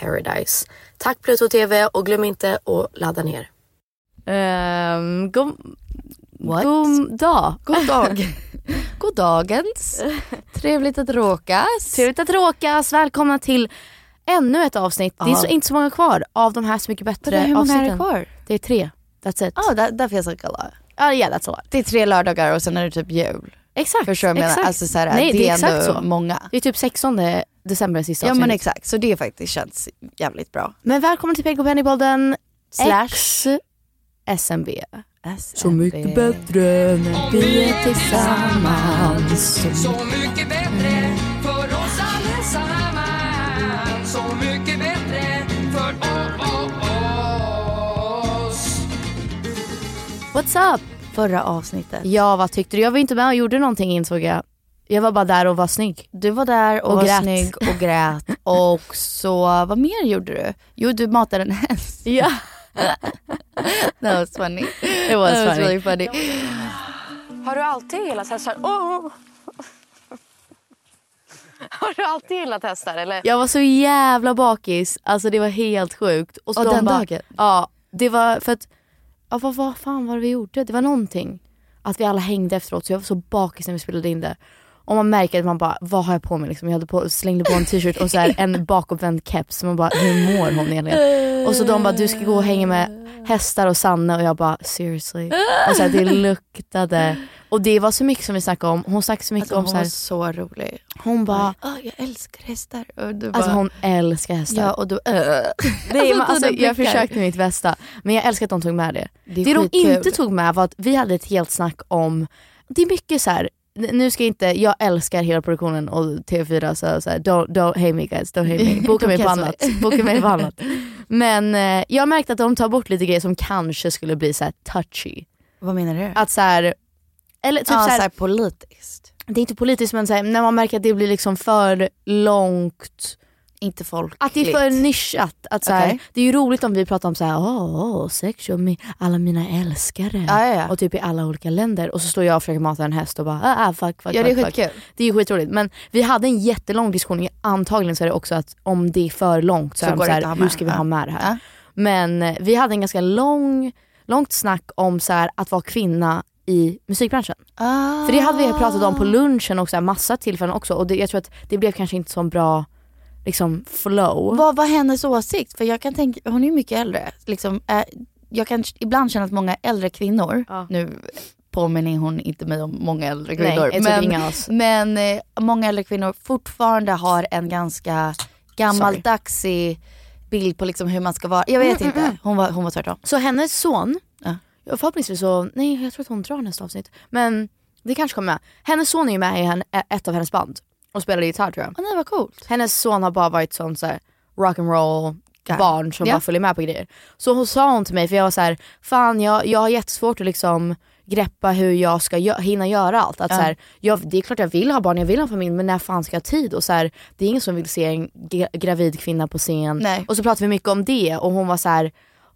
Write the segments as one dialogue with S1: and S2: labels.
S1: paradise. Tack Pluto TV och glöm inte att ladda ner.
S2: Ehm,
S3: Um, god,
S4: What?
S3: god dag.
S4: God dag.
S3: God dagens. Trevligt att råkas.
S2: Trevligt att råkas. Välkomna till ännu ett avsnitt. Det är
S4: Ja.
S2: så, inte så många kvar av de här Så mycket bättre
S3: Hur många
S2: avsnitten.
S3: är det kvar? Ah,
S2: Det är tre. That's it.
S3: Ja, där, där finns en gala.
S2: Ja, yeah, that's all.
S3: Det är tre lördagar och sen är det typ jul.
S2: Exakt.
S3: Förstår du vad jag menar?
S2: exakt.
S3: Alltså, så här,
S2: Nej,
S3: det,
S2: det är
S3: är
S2: exakt
S3: ändå
S2: så.
S3: många.
S2: Det är typ 16 december sista
S3: Ja
S2: avsnittet.
S3: men exakt, så det faktiskt känns jävligt bra.
S2: Men välkommen till PK Pennybolden
S3: X.
S2: slash SMB.
S3: Så mycket bättre när vi är tillsammans.
S5: Så mycket bättre för oss allesammans Så mycket bättre för oss
S2: What's up?
S3: Förra avsnittet.
S2: Ja, vad tyckte du? Jag var inte med och gjorde någonting insåg jag. Jag var bara där och var snygg.
S3: Du var där och,
S2: Och
S3: var
S2: grät.
S3: snygg och grät. Och så, vad mer gjorde du? Jo du matade en häst.
S2: Ja.
S3: That was funny. It
S2: was funny.
S3: really funny.
S5: Har du alltid gillat hästar? Åh! Har du alltid gillat hästar eller?
S2: Jag var så jävla bakis, alltså det var helt sjukt. så
S3: Och
S2: de
S3: den
S2: bara-
S3: dagen?
S2: Ja, det var för att, ja, vad, vad fan var det vi gjorde? Det var någonting. Att vi alla hängde efteråt så jag var så bakis när vi spelade in det. Och man märker att man bara, vad har jag på mig liksom? Jag hade på, slängde på en t-shirt och så här en bakåtvänd keps. Så Man bara, hur mår hon egentligen? Och så de bara, du ska gå och hänga med hästar och Sanne och jag bara, seriously. Och så här, det luktade. Och det var så mycket som vi snackade om. Hon snackade så mycket
S3: Alltså,
S2: om
S3: hon
S2: så
S3: var
S2: här,
S3: så rolig.
S2: hon bara,
S3: "Åh, jag älskar hästar. Och du bara,
S2: alltså hon älskar hästar.
S3: ja och du, Nej,
S2: Nej, men alltså, jag försökte mitt bästa. Men jag älskar att de tog med det.
S3: Det är
S2: Det de
S3: skitkul.
S2: inte tog med var att vi hade ett helt snack om, det är mycket så här. n- nu ska jag inte, jag älskar hela produktionen och TV4 så, så här, don't, don't hate me guys, don't hate me. Boka
S3: Don't
S2: mig på
S3: cancel
S2: annat. Boka mig på annat. Men eh, jag märkte att de tar bort lite grejer som kanske skulle bli så här touchy.
S3: Vad menar du?
S2: Att så här, eller typ
S3: ja,
S2: så här,
S3: politiskt.
S2: det är inte politiskt men så här, när man märker att det blir liksom för långt,
S4: Inte folkligt.
S2: att det är för nischat. Att så här,
S4: Okej.
S2: Det är ju roligt om vi pratar om så här, åh, åh, sex och mi- alla mina älskare.
S4: Ja, ja, ja.
S2: Och typ i alla olika länder och så står jag och försöker mata en häst och bara ah, ah, fuck, fuck,
S4: ja det är
S2: fuck, fuck.
S4: skitkul.
S2: Det är ju skitroligt men vi hade en jättelång diskussion, antagligen så är det också att om det är för långt så,
S4: Så
S2: är de
S4: går
S2: så
S4: det inte att
S2: här,
S4: ha med.
S2: hur ska vi
S4: Ja.
S2: ha med det här?
S4: Ja.
S2: Men eh, vi hade en ganska lång, långt snack om så här, att vara kvinna i musikbranschen. För det hade vi pratat om på lunchen och så här, massa tillfällen också och det, jag tror att det blev kanske inte så bra liksom, flow.
S4: Vad var hennes åsikt? För jag kan tänka, hon är ju mycket äldre. Liksom, eh, jag kan ibland känna att många äldre kvinnor,
S2: Ja.
S4: nu påminner hon inte mig om många äldre
S2: Nej,
S4: kvinnor.
S2: jag tycker
S4: men
S2: inga av oss.
S4: men eh, många äldre kvinnor fortfarande har en ganska gammaldagsig bild på liksom hur man ska vara. Jag
S2: Mm,
S4: vet inte, hon var, hon var tvärtom.
S2: Så hennes son,
S4: Ja.
S2: ja. förhoppningsvis så, nej jag tror att hon drar nästa avsnitt. Men det kanske kommer med. Hennes son är ju med i en, ett av hennes band och spelar gitarr tror jag.
S4: Åh nej vad coolt.
S2: Hennes son har bara varit sån så här, rock'n'roll barn som
S4: Ja.
S2: bara följer med på grejer. Så hon sa hon till mig, för jag var så här, fan jag, jag har jättesvårt att liksom greppa hur jag ska gö- hinna göra allt. Att
S4: Ja.
S2: så här, jag, det är klart jag vill ha barn, jag vill ha familj men när fan ska jag ha tid? Och så här, det är ingen som vill se en gra- gravid kvinna på scen.
S4: Nej.
S2: Och så pratade vi mycket om det och hon var så här,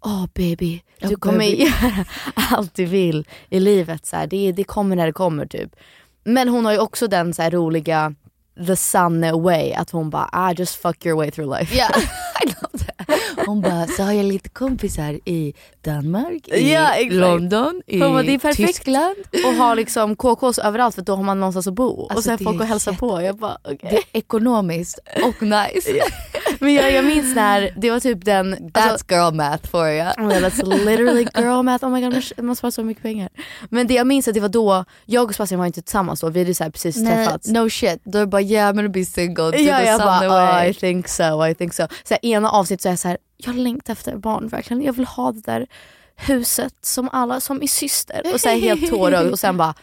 S2: åh baby, du
S4: Ja,
S2: kommer
S4: baby.
S2: göra allt du vill i livet. Så här, det, det kommer när det kommer typ. Men hon har ju också den så här roliga the sun way, att hon bara I just fuck your way through life.
S4: Ja, I love that. Hon bara, så har jag lite kompisar i Danmark, i
S2: Ja, exakt.
S4: London, i
S2: Hon bara, det är perfekt.
S4: Tyskland.
S2: Och har liksom KKs överallt för då har man någonstans att bo. och
S4: Alltså,
S2: sen
S4: det
S2: folk
S4: är
S2: går och hälsar
S4: jätte-
S2: på. Jag bara, okej.
S4: Det är ekonomiskt och nice.
S2: Men jag, jag minns när, det var typ den... alltså-
S4: That's girl math for you.
S2: Oh my god, that's literally girl math, oh my god det måste vara så mycket pengar. Men det jag minns att det var då, jag och Sebastian var inte tillsammans då, vi hade så här precis träffats.
S4: no shit. Då är det bara yeah men be single to
S2: Ja,
S4: the
S2: jag
S4: sun
S2: bara,
S4: away.
S2: oh, I think so, I think so. Så här, ena avsnittet så är jag så här, jag längtar efter barn verkligen. Jag vill ha det där huset som alla, som min syster. Och så här, helt tårögd och sen bara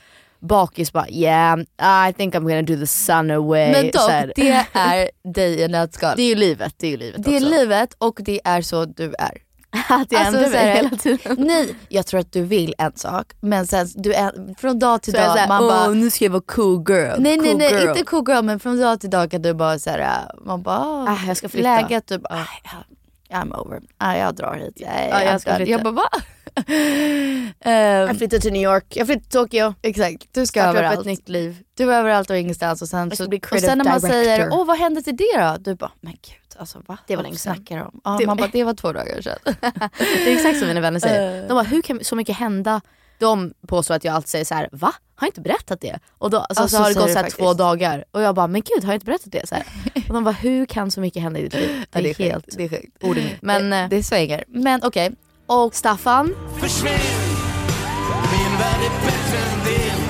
S2: bakis bara yeah, I think I'm gonna do the sun away.
S4: men
S2: så här,
S4: dock, det är dig i ett nötskal.
S2: det är ju livet, det är ju livet
S4: Det är
S2: också.
S4: livet och det är så du är. Alltså,
S2: att jag ändrar
S4: så
S2: mig
S4: här,
S2: hela tiden.
S4: Nej, jag tror att du vill en sak men sen du är, från dag till
S2: Så jag är
S4: dag
S2: så här,
S4: man
S2: oh,
S4: bara
S2: nu ska jag vara cool girl.
S4: Nej nej
S2: cool
S4: nej
S2: girl.
S4: inte cool girl men från dag till dag kan du bara såhär, man bara ah,
S2: Ah, jag ska flytta.
S4: läget typ, ah, ja, I'm over, ah, jag drar hit. Nej,
S2: Ja, jag ska
S4: drar.
S2: flytta.
S4: jag bara va?
S2: Jag
S4: Ehm,
S2: flyttar till New York, jag flyttar till Tokyo.
S4: exakt, du ska
S2: Startar upp ett
S4: överallt.
S2: nytt liv.
S4: Du var överallt och ingenstans och sen,
S2: Jag
S4: så,
S2: ska bli
S4: och sen när man
S2: creative
S4: säger
S2: director.
S4: åh vad hände till det då? Du bara men gud alltså va?
S2: Det var
S4: Vad
S2: länge sedan.
S4: snackar du om? Ja,
S2: Det-
S4: man bara det var två dagar sedan.
S2: Det är exakt som mina vänner säger.
S4: Eh.
S2: De bara, hur kan så mycket hända? De påstår att jag alltid säger så här, va? Har jag inte berättat det? Och då, alltså,
S4: Ja,
S2: så,
S4: så
S2: har det
S4: säger
S2: gått
S4: du
S2: så här
S4: faktiskt.
S2: två dagar och jag bara, men gud har jag inte berättat det? Så här. Och de bara, hur kan så mycket hända i ditt liv? Det är,
S4: det är sjukt,
S2: helt
S4: det är sjukt.
S2: orimligt. Men
S4: det,
S2: eh,
S4: det svänger. Men okej,
S2: och Staffan,
S5: Försvinn Min värld är bättre än din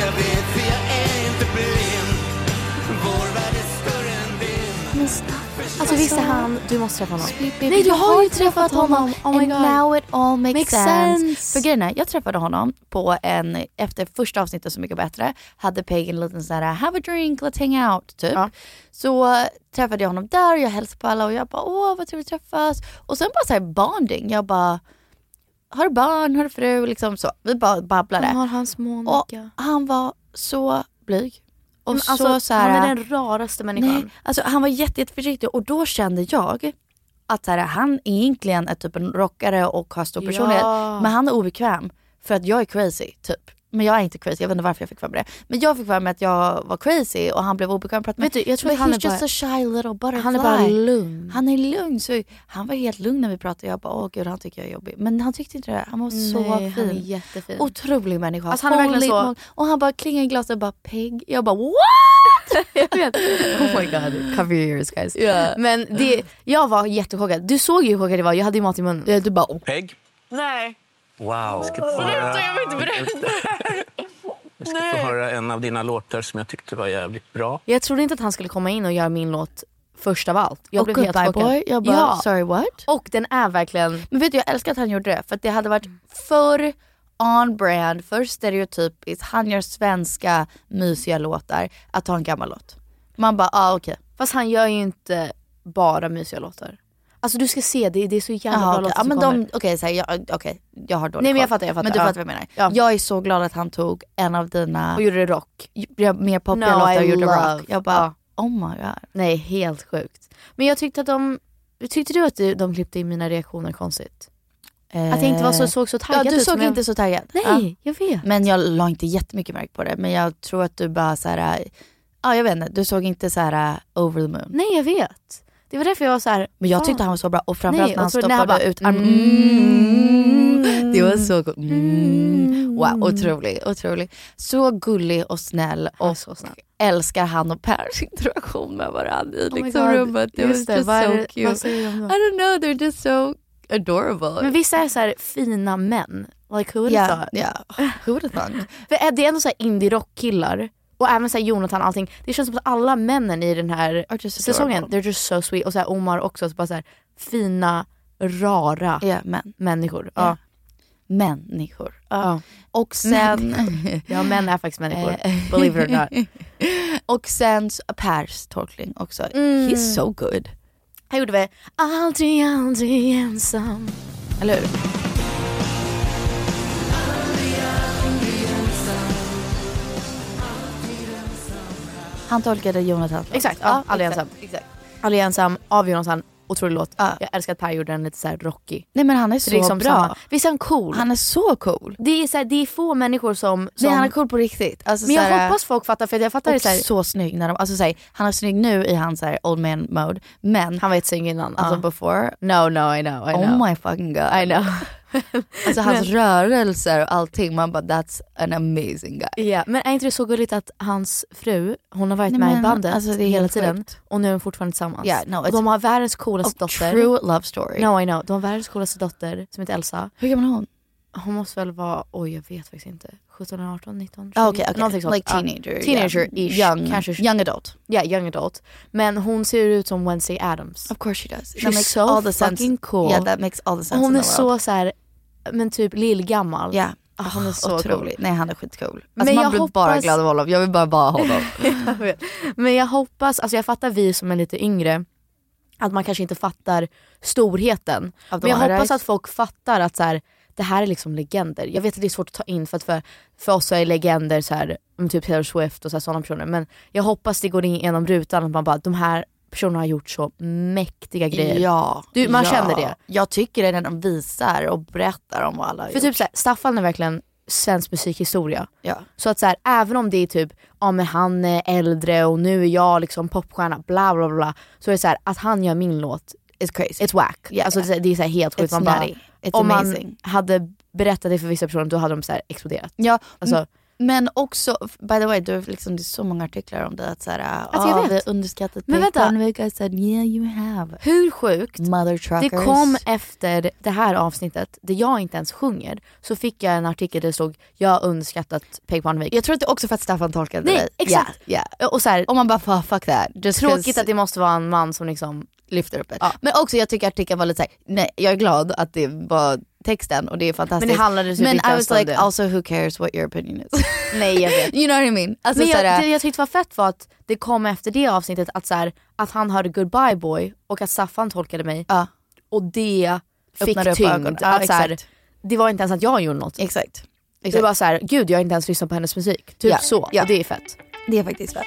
S5: Jag vet för jag är inte blind Vår värld är större än din
S2: alltså visste han, du måste träffa honom.
S4: Nej du har ju träffat honom.
S2: Oh my
S4: and
S2: God.
S4: now it all makes,
S2: Makes
S4: sense.
S2: sense.
S4: För grejen är, jag träffade honom på en, efter första avsnittet Så mycket bättre, hade Peg en liten sån här have a drink, let's hang out typ.
S2: Ja.
S4: Så eh, träffade jag honom där och jag hälsade på alla och jag bara åh vad trevligt att träffas. Och sen bara så här bonding, jag bara har du barn, har du fru liksom så. Vi bara babblade.
S2: Han har hans
S4: och
S2: Monica.
S4: han var så blyg. Och
S2: Men
S4: så,
S2: alltså,
S4: så här,
S2: han är den raraste människan.
S4: Nej, alltså han var jätte, jätteförsiktig och då kände jag att så här, han egentligen är typ en rockare och har stor
S2: Ja.
S4: personlighet men han är obekväm för att jag är crazy typ. Men jag är inte crazy, jag vet inte varför jag fick för mig det. Men jag fick för mig att jag var crazy och han blev obekväm. Vet
S2: du, jag tror att han är
S4: he's just
S2: bara-
S4: a shy little butterfly.
S2: Han är bara lugn.
S4: Han är lugn. Så han var helt lugn när vi pratade. Jag bara, åh gud han tycker jag är jobbig. Men han tyckte inte det. Han var så
S2: Nej,
S4: fin.
S2: han är jättefin.
S4: Otrolig människa.
S2: Alltså, han är verkligen
S4: Holy
S2: så-
S4: moly. Och han bara klingade i glaset och bara Peg. Jag bara what? jag vet. Oh my god. Cover your ears guys. Yeah.
S2: Men det, jag var jättechockad. Du såg ju hur chockad jag var, jag hade ju mat i munnen.
S4: Ja, du bara oh.
S5: Peg?
S6: Nej.
S5: Wow Sluta, jag vill inte berätta Vi ska få höra en av dina låtar som jag tyckte var jävligt bra
S2: Jag trodde inte att han skulle komma in och göra min låt först av allt. Jag
S4: och
S2: blev helt
S4: goodbye
S2: chockad.
S4: boy. Jag bara
S2: ja.
S4: sorry what?
S2: Och den är verkligen,
S4: Men vet du jag älskar att han gjorde det. För att det hade varit för on brand, för stereotypiskt. Han gör svenska mysiga låtar. Att ta en gammal låt. Man bara ah okej.
S2: fast han gör ju inte bara mysiga låtar. Alltså du ska se det, det är så jävla
S4: Jaha,
S2: bra
S4: okej.
S2: låtar
S4: Ja,
S2: som
S4: men
S2: kommer.
S4: de, okej, så här, jag, okay, jag har dålig
S2: Nej men jag
S4: koll.
S2: fattar, jag fattar.
S4: Men du
S2: ja.
S4: fattar vad jag menar.
S2: Ja.
S4: Jag är så glad att han tog en av dina
S2: Och gjorde det rock.
S4: gjorde, mer poppiga
S2: No,
S4: låtar och
S2: I
S4: gjorde
S2: love.
S4: rock. Jag bara, oh my god.
S2: Nej, helt sjukt. Men jag tyckte att de, tyckte du att du- de klippte in mina reaktioner konstigt? Att jag inte var så, såg så
S4: Eh, Ja,
S2: taggad
S4: du
S2: ut
S4: såg
S2: som jag-
S4: inte så taggad. Ja.
S2: Nej, jag vet.
S4: Men jag la inte jättemycket märke på det. Men jag tror att du bara så här, äh, ja jag vet inte, du såg inte så här äh, over the moon.
S2: Nej jag vet. Det var därför jag var så här.
S4: Men jag
S2: fan.
S4: tyckte han var så bra och framförallt
S2: Nej,
S4: när han
S2: och så när
S4: stoppade
S2: han bara,
S4: ut armen. Mm. Det var så coolt. Mm. Wow, otrolig, otrolig. Så gullig och snäll
S2: Han är
S4: och
S2: så snäll.
S4: älskar han och Pers interaktion med varandra i
S2: Oh my
S4: liksom
S2: God,
S4: rummet. Det var
S2: just
S4: just
S2: det, vad är
S4: so
S2: det-
S4: cute. Alltså,
S2: vad säger de då?
S4: I don't know, they're just so adorable.
S2: Men vissa är så här fina män. Like who would have
S4: Ja,
S2: thought?
S4: ja. Who would have thought?
S2: För är det är ändå så här indie rockkillar och även så här Jonathan och allting. Det känns som att alla männen i den här
S4: Are just
S2: säsongen,
S4: adorable.
S2: they're just so sweet. Och så här Omar också, så bara så här, fina, rara
S4: Ja, men.
S2: människor.
S4: Ja.
S2: Ja.
S4: Människor.
S2: Ja.
S4: Och sen...
S2: ja, män är faktiskt människor.
S4: Eh.
S2: Believe it or not.
S4: och sen så- Pers tolkning också.
S2: Mm.
S4: He's so good.
S2: Här gjorde vi Aldrig, aldrig ensam.
S4: Eller hur? Han tolkade Jonathan.
S2: Exakt, ja, aldrig ensam.
S4: Exakt.
S2: Aldrig ensam av Jonathan, otrolig låt.
S4: Ja.
S2: Jag älskar att Per gjorde den lite så här rockig.
S4: Nej men han är
S2: Så
S4: så
S2: det är liksom
S4: bra.
S2: samma. Visst är han cool?
S4: Han är så cool.
S2: Det, är så här, det är få människor som... som
S4: Nej han är cool på riktigt. Alltså,
S2: Men jag
S4: såhär,
S2: hoppas folk fattar för jag fattar det
S4: och
S2: så här,
S4: så snygg när de, alltså såhär, han är snygg nu i hans såhär old man mode, men
S2: Han var jättesnygg innan.
S4: alltså
S2: Alltså,
S4: before,
S2: No, no, I know, I know.
S4: oh my fucking god.
S2: I know.
S4: Alltså hans rörelser och allting, man bara that's an amazing guy.
S2: Ja, Men är inte det så gulligt att hans fru, hon har varit
S4: Nej,
S2: med
S4: men
S2: i bandet
S4: alltså, det är
S2: hela
S4: helt
S2: tiden
S4: sjukt.
S2: och nu är de fortfarande tillsammans.
S4: Yeah, no,
S2: och
S4: it's-
S2: de har världens coolaste
S4: A
S2: dotter.
S4: true love story.
S2: No I know, de har världens coolaste dotter som heter Elsa.
S4: Hur gammal är hon?
S2: Hon måste väl vara, oj jag vet faktiskt inte, 17, 18, 19, 20?
S4: Ah, Okej, okej.
S2: Någonting sånt.
S4: Like
S2: Ja.
S4: teenager.
S2: Teenager-ish,
S4: yeah. Young,
S2: kanske.
S4: young adult.
S2: Ja, young adult. Men hon ser ut som Wednesday Addams.
S4: Of course she does.
S2: She's so fucking cool.
S4: Yeah, that makes all the sense
S2: Hon
S4: in
S2: är
S4: the world.
S2: så så här, men typ lillgammal.
S4: Yeah. Oh,
S2: Ah, hon är så
S4: otrolig. Nej han är skitcool. Alltså,
S2: Men
S4: man
S2: jag
S4: blir bara
S2: hoppas-
S4: glad av honom. Jag vill bara vara honom.
S2: Jag vet. Men jag hoppas, alltså jag fattar vi som är lite yngre, att man kanske inte fattar storheten.
S4: Av de
S2: Men jag
S4: andra,
S2: hoppas
S4: right?
S2: att folk fattar att så här, det här är liksom legender. Jag vet att det är svårt att ta in för att för, för oss så är legender så här, om typ Taylor Swift och så här, sådana personer. Men jag hoppas det går in genom rutan att man bara, de här personerna har gjort så mäktiga grejer.
S4: Ja.
S2: Du, man
S4: ja.
S2: känner det.
S4: Jag tycker det när de visar och berättar om vad alla har
S2: För
S4: gjort.
S2: typ så här, Staffan är verkligen svensk musikhistoria.
S4: ja.
S2: Så att så här, även om det är typ, ja men han är äldre och nu är jag liksom popstjärna, bla bla bla. Så är det så här, att han gör min låt,
S4: It's crazy.
S2: it's whack.
S4: Yeah.
S2: Alltså det är, det är så här helt sjukt.
S4: It's
S2: Man bara,
S4: nutty. It's
S2: om
S4: amazing.
S2: man hade berättat det för vissa personer då hade de så här exploderat.
S4: Ja,
S2: Alltså,
S4: m- men också, by the way, du, har liksom, det är så många artiklar om det att såhär,
S2: Att Alltså, jag
S4: ah,
S2: vet.
S4: vi underskattat
S2: Men vänta.
S4: Patreon, we guys said yeah you have.
S2: Hur sjukt?
S4: Mother
S2: Det
S4: truckers.
S2: kom efter det här avsnittet, där jag inte ens sjunger, så fick jag en artikel där det stod “Jag underskattat Peg Parnevik”.
S4: jag tror att det är också för att Staffan tolkade
S2: Nej,
S4: det.
S2: exakt.
S4: Yeah, yeah.
S2: Och så här,
S4: Och man bara "Fan, fuck that. Just
S2: tråkigt
S4: 'cause
S2: att det måste vara en man som liksom
S4: lyfter upp det.
S2: Ja.
S4: Men också jag tycker artikeln var lite såhär, nej jag är glad att det var texten och det är fantastiskt.
S2: Men det handlade typ
S4: Men
S2: inte
S4: I
S2: ens
S4: was
S2: om
S4: like
S2: det.
S4: also who cares what your opinion is.
S2: Nej, jag vet.
S4: you know what I mean? Alltså,
S2: Men jag,
S4: såhär,
S2: det jag tyckte var fett var att det kom efter det avsnittet att, så här, att han hörde goodbye boy och att Staffan tolkade mig
S4: ja,
S2: och det fick
S4: Öppnade upp
S2: tyngd.
S4: ögonen. Ja,
S2: att, så här,
S4: exakt.
S2: det var inte ens att jag gjorde något.
S4: exakt.
S2: Det var så här, gud jag har inte ens lyssnat på hennes musik. Typ
S4: Ja,
S2: så.
S4: ja.
S2: Och det är fett.
S4: Det är faktiskt fett.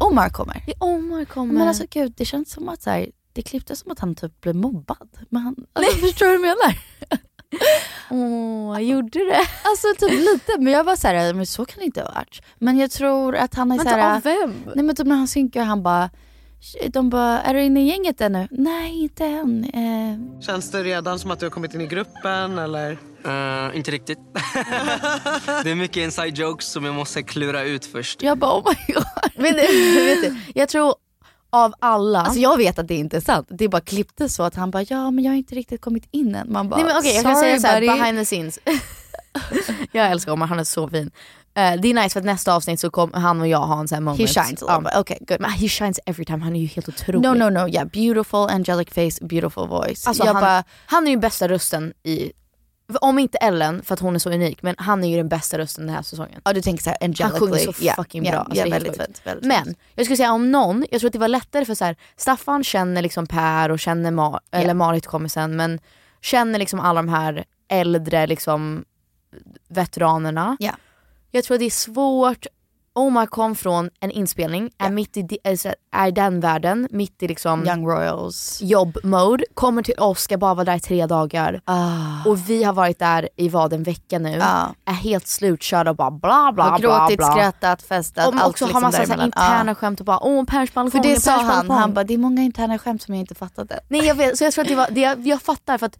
S4: Omar kommer.
S2: Omar kommer.
S4: Men alltså gud, det känns som att så här, det klipptes som att han typ blev mobbad. Men han, alltså, förstår du vad jag menar?
S2: Åh, gjorde det?
S4: Alltså typ lite, men jag var så här, men så kan det inte ha varit. Men jag tror att han är
S2: Vänta,
S4: så här.
S2: av vem?
S4: Nej men typ när han synkar, han bara, de bara, är du inne i gänget ännu? Nej inte än. Eh,
S7: Känns det redan som att du har kommit in i gruppen eller?
S8: Eh, inte riktigt. det är mycket inside jokes som jag måste klura ut först.
S4: jag bara, oh my god.
S2: Men, vet du, jag tror av alla...
S4: Alltså jag vet att det inte är sant. Det bara klipptes så att han bara, ja men jag har inte riktigt kommit in än. Man bara,
S2: Nej men okej jag kan
S4: sorry,
S2: säga såhär
S4: buddy.
S2: behind the scenes. jag älskar Omar, han är så fin. Eh, det är nice för att nästa avsnitt så kommer han och jag ha en sån här moment.
S4: He shines a little bit.
S2: okay, good. Men he shines every time, han är ju helt otrolig.
S4: No no no, yeah. Beautiful angelic face, beautiful voice.
S2: Alltså,
S4: jag
S2: han,
S4: bara,
S2: han är ju bästa rösten i, om inte Ellen för att hon är så unik, men han är ju den bästa rösten den här säsongen.
S4: ja du tänker såhär angelically.
S2: Han sjunger så
S4: yeah,
S2: fucking
S4: yeah,
S2: bra. Alltså,
S4: yeah,
S2: det är helt
S4: väldigt, väldigt,
S2: sjukt.
S4: väldigt
S2: Men jag skulle säga om någon, jag tror att det var lättare för så här, Staffan känner liksom Per och känner Ma- eller Marit kommer sen, men känner liksom alla de här äldre liksom, veteranerna. Jag tror det är svårt, Omar kom från en inspelning, är, mitt i, di- är så här- är i den världen, mitt i liksom
S4: Young Royals
S2: jobb-mode, kommer till oss, ska bara vara där i tre dagar.
S4: Ah.
S2: Och vi har varit där i vad, en vecka nu, är helt slutkörda och bara bla bla
S4: Har
S2: bla.
S4: gråtit,
S2: bla.
S4: skrattat, festat,
S2: och man
S4: allt
S2: också har
S4: liksom
S2: massa så här
S4: däremellan.
S2: interna
S4: Ja.
S2: skämt och bara åh Pers balkong,
S4: För det
S2: Pers
S4: sa han,
S2: balkong.
S4: han bara, det är många interna skämt som jag inte fattade.
S2: Nej jag vet, så jag tror att det var, det, jag, jag fattar för att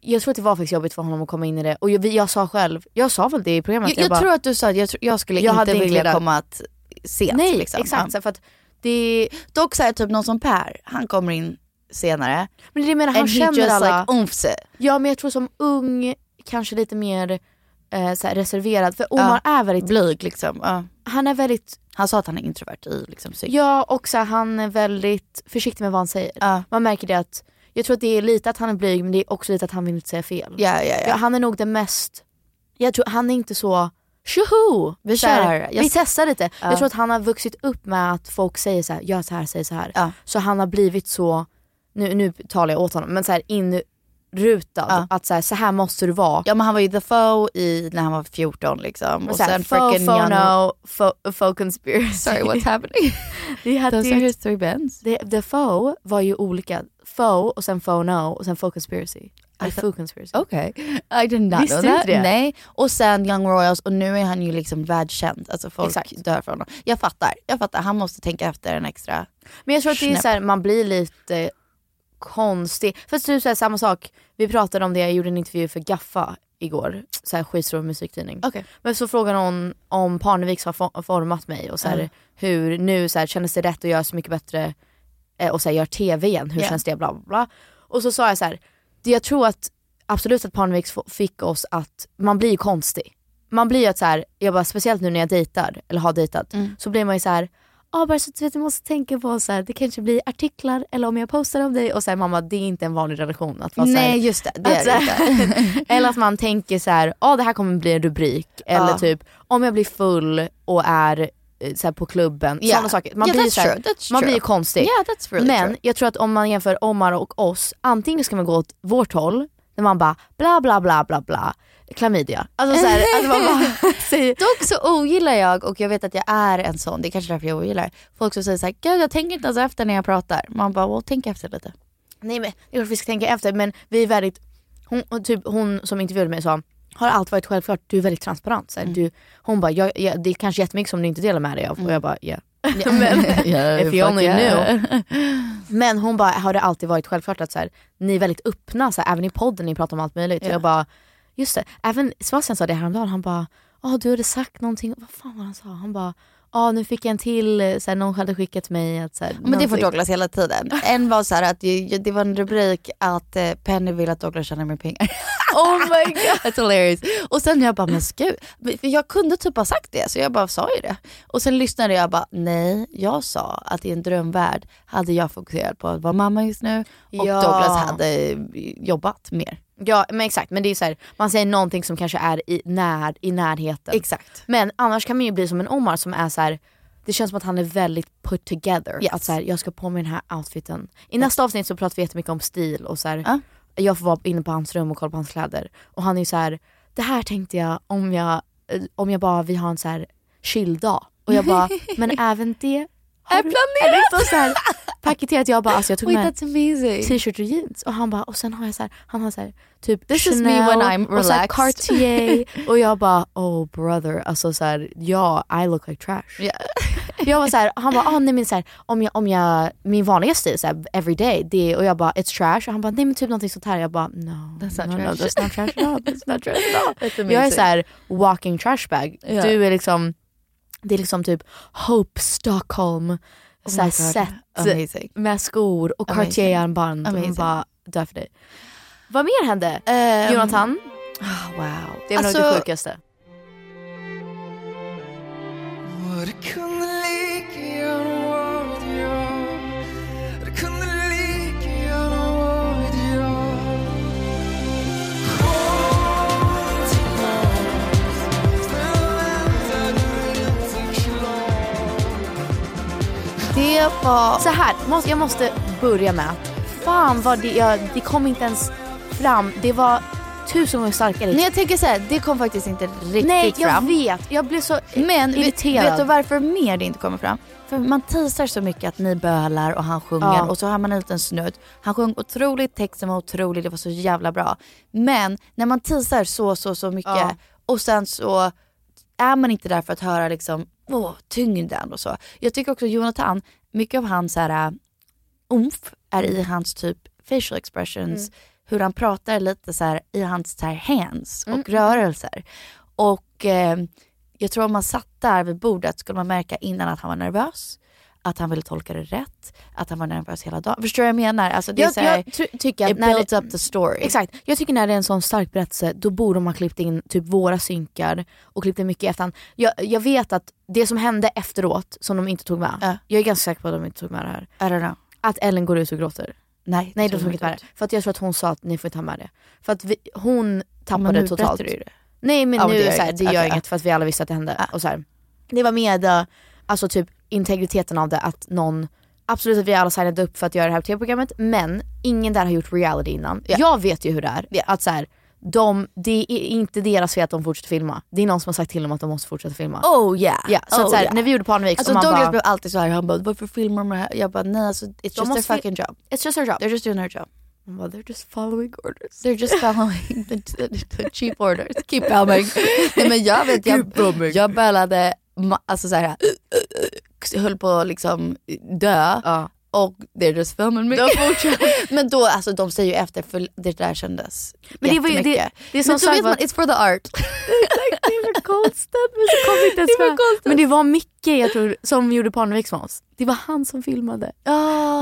S2: jag tror att det var faktiskt jobbigt för honom att komma in i det. Och jag, jag sa själv, jag sa väl det i programmet.
S4: Jag, jag
S2: bara,
S4: tror att du sa att jag, tr- jag skulle
S2: Jag
S4: inte
S2: hade inte
S4: vilja
S2: velat-
S4: komma att sent.
S2: Nej,
S4: liksom.
S2: exakt, så
S4: för att det... Dock så här, typ någon som Per, han kommer in senare.
S2: Men det menar, han
S4: And he
S2: känner
S4: just
S2: alla.
S4: like oh. oompse.
S2: Ja men jag tror som ung, kanske lite mer eh, så här, reserverad. För Omar är väldigt...
S4: Blyg liksom. Ja.
S2: Han är väldigt...
S4: Han sa att han är introvert i liksom, psyk.
S2: Ja och så här, han är väldigt försiktig med vad han säger. Man märker det att, jag tror att det är lite att han är blyg men det är också lite att han vill inte säga fel.
S4: Ja, ja, ja.
S2: Han är nog den mest, jag tror han är inte så tjoho!
S4: Vi
S2: så här,
S4: kör. Jag-
S2: Vi testar lite.
S4: Ja.
S2: Jag tror att han har vuxit upp med att folk säger så här, gör så här, säger så här. Så han har blivit så, nu, nu talar jag åt honom, men så här inrutad. Att så här, så här måste du vara.
S4: Ja men han var ju the foe i, när han var 14 liksom.
S2: Och så här, faux,
S4: fröken
S2: faux
S4: Janno-
S2: no, faux, faux conspiracy.
S4: Sorry, what's happening?
S2: det hade
S4: Those
S2: ju-
S4: are his three bands.
S2: Det, the faux var ju olika. Faux och sen faux no och sen faux conspiracy. Eller
S4: Alltså-
S2: faux conspiracy.
S4: Okej. I did not
S2: Visste
S4: know
S2: du
S4: that.
S2: inte det?
S4: Nej. Och sen Young Royals och nu är han ju liksom världskänd. Alltså folk
S2: Exakt.
S4: dör för honom. Jag fattar, jag fattar. Han måste tänka efter en extra.
S2: Men jag tror att det är
S4: Snäpp.
S2: så här, man blir lite konstig. Fast typ så här, samma sak, vi pratade om det, jag gjorde en intervju för Gaffa igår, så här skitstor musiktidning. Men så frågade hon om Parneviks har fo- format mig och så här,
S4: Ja.
S2: hur nu så här, kändes det rätt att göra så mycket bättre eh, och så här, göra tv igen, hur
S4: Ja.
S2: känns det bla bla bla. Och så sa jag så här, det jag tror att absolut att Parnevik f- fick oss att, man blir ju konstig. Man blir ju att så här, jag bara, speciellt nu när jag dejtar, eller har dejtat,
S4: Mm.
S2: så blir man ju så här, ja bara så att du vet, du måste tänka på så här, det kanske blir artiklar eller om jag postar om dig och så här, mamma det är inte en vanlig relation att vara så här,
S4: Nej just det, det är
S2: att
S4: det inte.
S2: inte. eller att man tänker så här, ja det här kommer bli en rubrik. Eller
S4: Ja.
S2: typ, om jag blir full och är eh, så här, på klubben.
S4: Ja.
S2: Sådana saker. Man
S4: Ja,
S2: blir
S4: that's
S2: så här,
S4: true, that's
S2: man
S4: true.
S2: blir ju konstig.
S4: Yeah, that's really
S2: Men
S4: true.
S2: jag tror att om man jämför Omar och oss, antingen ska man gå åt vårt håll, där man bara bla bla bla bla bla, klamydia. Alltså så här, att man bara,
S4: Dock så ogillar jag, och jag vet att jag är en sån, det är kanske därför jag ogillar folk som säger såhär, gud jag tänker inte ens efter när jag pratar. Man bara, well tänk efter lite.
S2: Nej men det är klart vi ska tänka efter men vi är väldigt, hon, och typ, hon som intervjuade mig sa, har allt varit självklart, du är väldigt transparent. Så här, du, hon bara, jag, jag, det är kanske jättemycket som du inte delar med dig av. Och jag bara, yeah. Mm. men,
S4: Yeah,
S2: if you only
S4: fuck yeah.
S2: knew. Men hon bara, har det alltid varit självklart att så här, ni är väldigt öppna, så här, även i podden ni pratar om allt möjligt.
S4: Ja.
S2: Och jag bara, just det. Även Sebastian sa det häromdagen, han bara, ja du hade sagt någonting, vad fan var han sa? Han bara, ja nu fick jag en till, eh, så här, någon hade skickat mig att så här,
S4: Men det får
S2: någonting."
S4: Douglas hela tiden. En var så här att ju- det var en rubrik att eh, Penny vill att Douglas tjänar mer pengar.
S2: Oh my god.
S4: That's hilarious. Och sen jag bara, men gud. För jag kunde typ ha sagt det så jag bara sa ju det. Och sen lyssnade jag bara, nej jag sa att i en drömvärld hade jag fokuserat på att vara mamma just nu och
S2: Ja.
S4: Douglas hade eh, jobbat mer.
S2: Ja men exakt, men det är ju så här, man säger någonting som kanske är i, när, i närheten.
S4: Exakt.
S2: Men annars kan man ju bli som en Omar som är så här. det känns som att han är väldigt put together.
S4: Yes.
S2: Att så här, jag ska på mig den här outfiten. I nästa avsnitt så pratar vi jättemycket om stil och så här, jag får vara inne på hans rum och kolla på hans kläder. Och han är ju så här, det här tänkte jag om jag, eh, om jag bara, vi har en så här chill-dag. Och jag bara, men även det har är planerat. Du, är det så här, paketerat, jag bara, alltså jag tog
S4: Wait,
S2: med
S4: that's amazing.
S2: t-shirt och jeans och han bara och sen har jag så här, han har så här, typ
S4: This is
S2: Chanel
S4: me when I'm
S2: och så här,
S4: relaxed.
S2: Cartier och jag bara oh brother alltså så här, ja I look like trash. Jag var så här, han bara ah, nej men så här, om jag, om jag, min vanliga stil så här, every day det är, och jag bara it's trash och han bara nej men typ någonting sånt här jag bara no
S4: That's
S2: no,
S4: not
S2: no
S4: trash.
S2: that's not trash at all that's not trash at all.
S4: That's
S2: jag är
S4: amazing.
S2: så här walking trash bag.
S4: Ja.
S2: Du är liksom det är liksom typ Hope Stockholm Oh så här
S4: my God.
S2: set
S4: Amazing.
S2: med skor och
S4: Amazing.
S2: Cartier-armband. Och
S4: Amazing.
S2: hon bara dör för dig. Ehm, Vad mer hände? Jonathan?
S4: eh, wow. Alltså,
S2: Det var nog det sjukaste.
S5: Och det kunde lika gärna varit jag Det kunde lika gärna varit jag Kom tillbaks Snälla vänta nu är inte klart
S4: Det var...
S2: Så här, måste- jag måste börja med att fan vad det, jag, det kom inte ens fram. Det var tusen gånger starkare.
S4: Nej jag tänker så här, det kom faktiskt inte riktigt
S2: Nej, jag
S4: fram.
S2: vet. Jag blev så
S4: Men vet,
S2: irriterad.
S4: vet du varför mer det inte kommer fram? För man teasar så mycket att ni bölar och han sjunger
S2: Ja.
S4: och så har man en liten snutt. Han sjöng otroligt, texten var otrolig, det var så jävla bra. Men när man teasar så, så, så mycket
S2: Ja.
S4: och sen så är man inte där för att höra liksom, åh, tyngden och så. Jag tycker också Jonathan, mycket av hans så här, äh, umf är i hans typ facial expressions,
S2: Mm.
S4: hur han pratar lite så här i hans så här hands och
S2: Mm, mm.
S4: rörelser. Och eh, jag tror om man satt där vid bordet skulle man märka innan att han var nervös, att han ville tolka det rätt, att han var nervös hela dagen. Förstår du vad jag menar? Alltså det är
S2: jag,
S4: så här,
S2: jag ty- tycker att
S4: it
S2: när
S4: builds
S2: det,
S4: up the story.
S2: Exakt, jag tycker när det är en sån stark berättelse då borde man ha klippt in typ våra synkar och klippt in mycket i efterhand. Jag, jag vet att det som hände efteråt som de inte tog med, jag är ganska säker på att de inte tog med det här.
S4: I don't know.
S2: Att Ellen går ut och gråter.
S4: Nej,
S2: Nej
S4: tror jag
S2: de tog inte med
S4: inte.
S2: det. För att jag tror att hon sa att ni får inte ha med det. För att vi, hon tappade
S4: nu
S2: totalt.
S4: berättar du ju det.
S2: Nej men
S4: Ja, men
S2: nu
S4: det
S2: det
S4: gör
S2: gör, så här,
S4: inget.
S2: det gör
S4: Okej,
S2: inget
S4: ja.
S2: för att vi alla visste att det hände. Och så här. Det var med eh, alltså typ integriteten av det att någon Absolut att vi alla signade upp för att göra det här tv-programmet men ingen där har gjort reality innan. Jag vet ju hur det är. Att så här, de, det är inte deras fel att de fortsätter filma. Det är någon som har sagt till dem att de måste fortsätta filma.
S4: Oh yeah.
S2: Ja, så att
S4: oh,
S2: så här,
S4: yeah.
S2: när vi gjorde Parnevik
S4: Alltså
S2: så man
S4: Douglas
S2: bara...
S4: blev alltid så här, han bara varför filmar de det här? Jag bara nej alltså it's just their
S2: måste fi-
S4: fucking job.
S2: It's just their job.
S4: They're just doing their job.
S2: Man bara, they're just following orders.
S4: They're just following the, the, the cheap orders. Keep coming. Nej men jag vet, jag, jag bölade, ma- alltså så här, höll på att liksom dö. Och they're just filming me. men då, alltså de säger ju efter för det där kändes
S2: Men det var ju- det-
S4: jättemycket.
S2: det är som
S4: men då
S2: sagt
S4: vet
S2: var-
S4: man, it's for the art.
S2: Konstigt men så kom vi inte ens med. Men det var Micke jag tror, som gjorde Parneviks med oss. Det var han som filmade. Och